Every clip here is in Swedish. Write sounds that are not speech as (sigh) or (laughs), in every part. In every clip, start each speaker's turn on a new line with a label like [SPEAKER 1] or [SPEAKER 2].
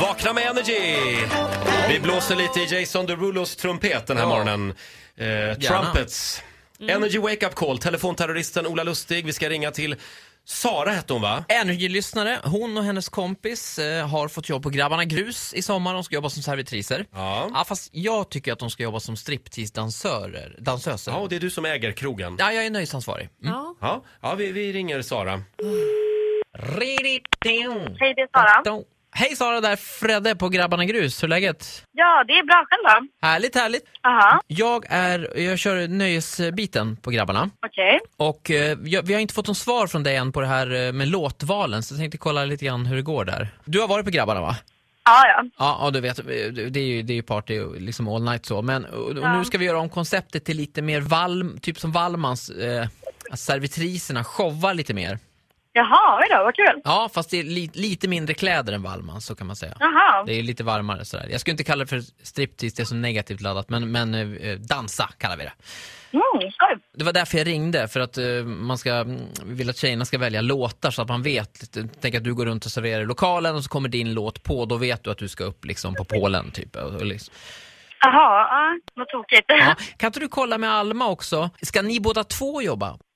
[SPEAKER 1] Vakna med Energy! Vi blåser lite i Jason Derulos trumpet den här
[SPEAKER 2] Ja.
[SPEAKER 1] morgonen. Eh, trumpets. Energy Wake Up Call, telefonterroristen Ola Lustig. Vi ska ringa till Sara hette hon va?
[SPEAKER 2] Energy-lyssnare, hon och hennes kompis eh, har fått jobb på Grabbarna Grus i sommar. De ska jobba som servitriser.
[SPEAKER 1] Ja.
[SPEAKER 2] Ja, fast jag tycker att de ska jobba som striptease-dansörer. Dansöser.
[SPEAKER 1] Ja,
[SPEAKER 2] Ja.
[SPEAKER 1] och det är du som äger krogen.
[SPEAKER 2] jag är nöjesansvarig. Mm.
[SPEAKER 3] Ja.
[SPEAKER 1] Ja, ja vi, vi ringer Sara.
[SPEAKER 4] Hej, det är Sara.
[SPEAKER 2] Hej Sara, där Fredde på Grabbarna Grus. Hur är läget?
[SPEAKER 4] Ja, det är bra. Själv då?
[SPEAKER 2] Härligt, härligt.
[SPEAKER 4] Aha,
[SPEAKER 2] Jag, är, jag kör nöjesbiten på Grabbarna.
[SPEAKER 4] okej.
[SPEAKER 2] Och eh, jag, vi har inte fått någon svar från dig än på det här eh, med låtvalen, så jag tänkte kolla lite grann hur det går där. Du har varit på Grabbarna va?
[SPEAKER 4] Ja, ja.
[SPEAKER 2] Ja, ja du vet, eh, det är ju, det är ju party och liksom all night så. Men och, och
[SPEAKER 4] Ja.
[SPEAKER 2] nu ska vi göra om konceptet till lite mer Valm, typ som Wallmans, eh, att servitriserna showar lite mer.
[SPEAKER 4] Jaha, oj då, vad kul.
[SPEAKER 2] Ja, fast det är li, lite mindre kläder än Wallmans, så kan man säga.
[SPEAKER 4] Jaha.
[SPEAKER 2] Det är lite varmare sådär. Jag skulle inte kalla det för striptease, det är så negativt laddat, men, men eh, dansa kallar vi det.
[SPEAKER 4] Mm, skoj.
[SPEAKER 2] Det var därför jag ringde, för att eh, man ska, mm, vill att tjejerna ska välja låtar så att man vet. lite. Tänk att du går runt och serverar i lokalen och så kommer din låt på, då vet du att du ska upp liksom på Polen typ. Och, och liksom.
[SPEAKER 4] Jaha, ja, vad tokigt.
[SPEAKER 2] ja.
[SPEAKER 4] Ja,
[SPEAKER 2] Kan inte du kolla med Alma också? Ska ni båda två jobba?
[SPEAKER 4] (laughs)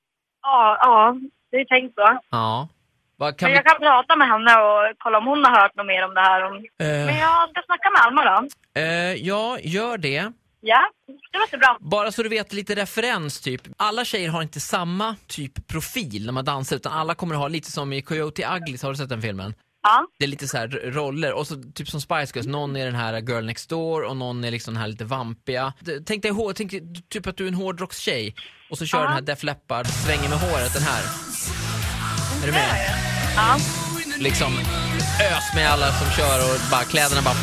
[SPEAKER 4] ja, det är tänkt så.
[SPEAKER 2] Ja. Vad kan
[SPEAKER 4] Men
[SPEAKER 2] vi...
[SPEAKER 4] jag kan prata med henne och kolla om hon har hört något mer om det här. Om... Men
[SPEAKER 2] Eh,
[SPEAKER 4] jag ska snacka med Alma då.
[SPEAKER 2] eh, ja, gör det.
[SPEAKER 4] Ja, det låter bra.
[SPEAKER 2] Bara så du vet lite referens typ. Alla tjejer har inte samma typ profil när man dansar utan alla kommer att ha lite som i Coyote Ugly, har du sett den filmen?
[SPEAKER 4] Ja,
[SPEAKER 2] Det är lite så här r- roller, och så typ som Spice Girls, någon är den här girl next door och någon är liksom den här lite vampiga. D- Tänk dig hår, tänk dig typ att du är en hårdrockstjej och så kör den här Def Leppard, svänger med håret, den här. Är du med?
[SPEAKER 4] ja.
[SPEAKER 2] Liksom ös med alla som kör och bara kläderna bara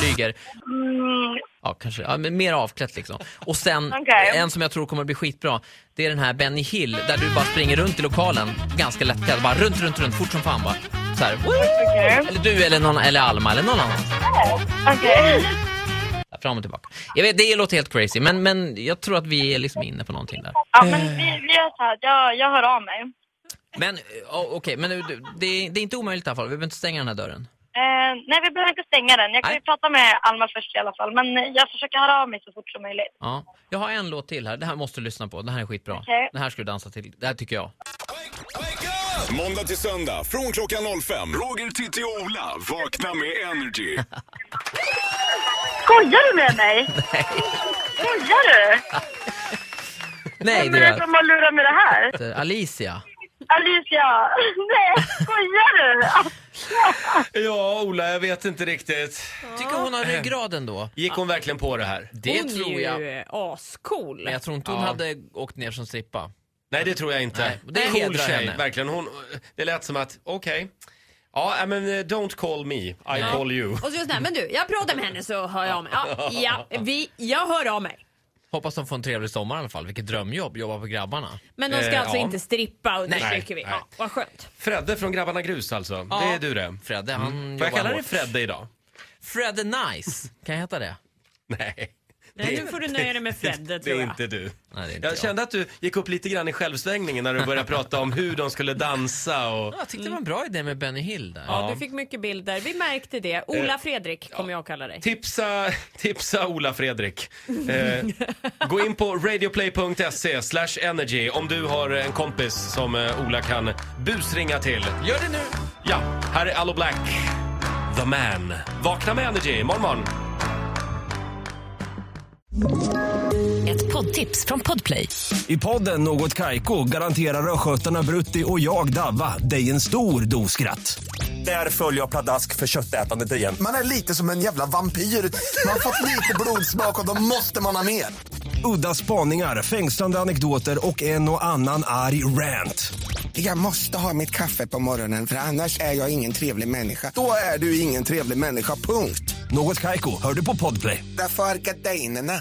[SPEAKER 2] flyger.
[SPEAKER 4] Mm,
[SPEAKER 2] Ja, kanske. Ja, men mer avklätt liksom. Och sen,
[SPEAKER 4] Okej.
[SPEAKER 2] en som jag tror kommer bli skitbra, det är den här Benny Hill, där du bara springer runt i lokalen, ganska lättklädd, bara runt, runt, runt, fort som fan bara. Så här, woo!
[SPEAKER 4] okej.
[SPEAKER 2] Eller du eller, någon, eller Alma eller någon annan.
[SPEAKER 4] Okej.
[SPEAKER 2] Där, Fram och tillbaka. Jag vet, det låter helt crazy, men, men jag tror att vi är liksom inne på någonting där.
[SPEAKER 4] Ja, men vi, vi gör så här. Jag, jag hör av mig.
[SPEAKER 2] Men eh, ja, okej, men eh, du, det, det är inte omöjligt i alla fall. Vi behöver inte stänga den här dörren.
[SPEAKER 4] Eh, nej, vi behöver inte stänga den. Jag kan ju
[SPEAKER 2] Nej.
[SPEAKER 4] prata med Alma först i alla fall. Men jag försöker höra av mig så fort som möjligt.
[SPEAKER 2] Ja. Jag har en låt till här. Det här måste du lyssna på. Det här är skitbra.
[SPEAKER 4] Okej.
[SPEAKER 2] Det här ska du dansa till. Det här tycker jag.
[SPEAKER 5] Måndag till söndag från klockan 05. Roger, Titti och Ola vaknar med Energy.
[SPEAKER 4] Skojar du med
[SPEAKER 2] (laughs)
[SPEAKER 4] mig? Skojar du?
[SPEAKER 2] Nej,
[SPEAKER 4] Vem
[SPEAKER 2] det
[SPEAKER 4] är det
[SPEAKER 2] är
[SPEAKER 4] som har lurat med det här?
[SPEAKER 2] det. Alicia.
[SPEAKER 4] Alicia! (laughs) Nej, skojar du? Alltså,
[SPEAKER 1] Ja, Ola, jag vet inte riktigt.
[SPEAKER 2] Tycker hon har ryggrad ändå?
[SPEAKER 1] Gick hon verkligen på det här?
[SPEAKER 2] Det
[SPEAKER 3] hon
[SPEAKER 2] tror
[SPEAKER 3] är
[SPEAKER 2] jag.
[SPEAKER 3] ju eh, ascool.
[SPEAKER 2] Men jag tror inte hon
[SPEAKER 1] Ja.
[SPEAKER 2] hade åkt ner som strippa.
[SPEAKER 1] Nej, det tror jag inte.
[SPEAKER 2] Nej,
[SPEAKER 1] det
[SPEAKER 2] det
[SPEAKER 1] är cool
[SPEAKER 2] hedrar
[SPEAKER 1] tjej,
[SPEAKER 2] henne.
[SPEAKER 1] verkligen. Hon, det lät som att, okej. Ja, I men eh, don't call me, I call you.
[SPEAKER 3] Och så just det här, men du, jag pratar med henne så hör jag av mig.
[SPEAKER 1] (laughs)
[SPEAKER 3] Ja, ja, vi, jag hör av mig.
[SPEAKER 2] Hoppas de får en trevlig sommar i alla fall. Vilket drömjobb, jobba på grabbarna.
[SPEAKER 3] Men de ska
[SPEAKER 1] Eh,
[SPEAKER 3] alltså
[SPEAKER 1] ja.
[SPEAKER 3] inte strippa understryker vi.
[SPEAKER 1] Nej,
[SPEAKER 3] Ja, vad skönt.
[SPEAKER 1] Fredde från Grabbarna Grus alltså.
[SPEAKER 2] Ja.
[SPEAKER 1] Det är du det.
[SPEAKER 2] Fredde, han
[SPEAKER 1] Får
[SPEAKER 2] jobbar
[SPEAKER 1] jag kalla dig
[SPEAKER 2] hårt.
[SPEAKER 1] Fredde idag?
[SPEAKER 2] Fredde Nice, kan jag heta det?
[SPEAKER 1] (laughs) Nej.
[SPEAKER 3] Nej, nu får du nöja dig med
[SPEAKER 1] Det
[SPEAKER 3] Fredde tror
[SPEAKER 1] är
[SPEAKER 3] jag.
[SPEAKER 1] inte du.
[SPEAKER 2] Nej, det är inte
[SPEAKER 1] Jag kände att du gick upp lite grann i självsvängningen när du började
[SPEAKER 2] (laughs)
[SPEAKER 1] prata om hur de skulle dansa och...
[SPEAKER 2] Ja, Jag tyckte det var en bra idé med Benny Hill där.
[SPEAKER 3] Ja, du fick mycket bilder. Vi märkte det. Ola
[SPEAKER 1] Eh,
[SPEAKER 3] Fredrik kommer jag att kalla dig.
[SPEAKER 1] Tipsa, tipsa Ola Fredrik. Eh, gå in på radioplay.se slash energy om du har en kompis som eh, Ola kan busringa till.
[SPEAKER 2] Gör det nu!
[SPEAKER 1] Ja, här är Allo Black, The Man. Vakna med energy, morgon, morgon.
[SPEAKER 6] Ett poddtips från Podplay.
[SPEAKER 7] I podden Något Kaiko garanterar östgötarna Brutti och jag, Davva, dig en stor dos skratt. Där följer jag pladask för köttätandet igen.
[SPEAKER 8] Man är lite som en jävla vampyr. Man har fått lite blodsmak och då måste man ha mer.
[SPEAKER 7] Udda spaningar, fängslande anekdoter och en och annan arg rant.
[SPEAKER 8] Jag måste ha mitt kaffe på morgonen för annars är jag ingen trevlig människa. Då är du ingen trevlig människa, punkt.
[SPEAKER 7] Något Kaiko, hör du på Podplay.
[SPEAKER 8] Därför arkadeinerna.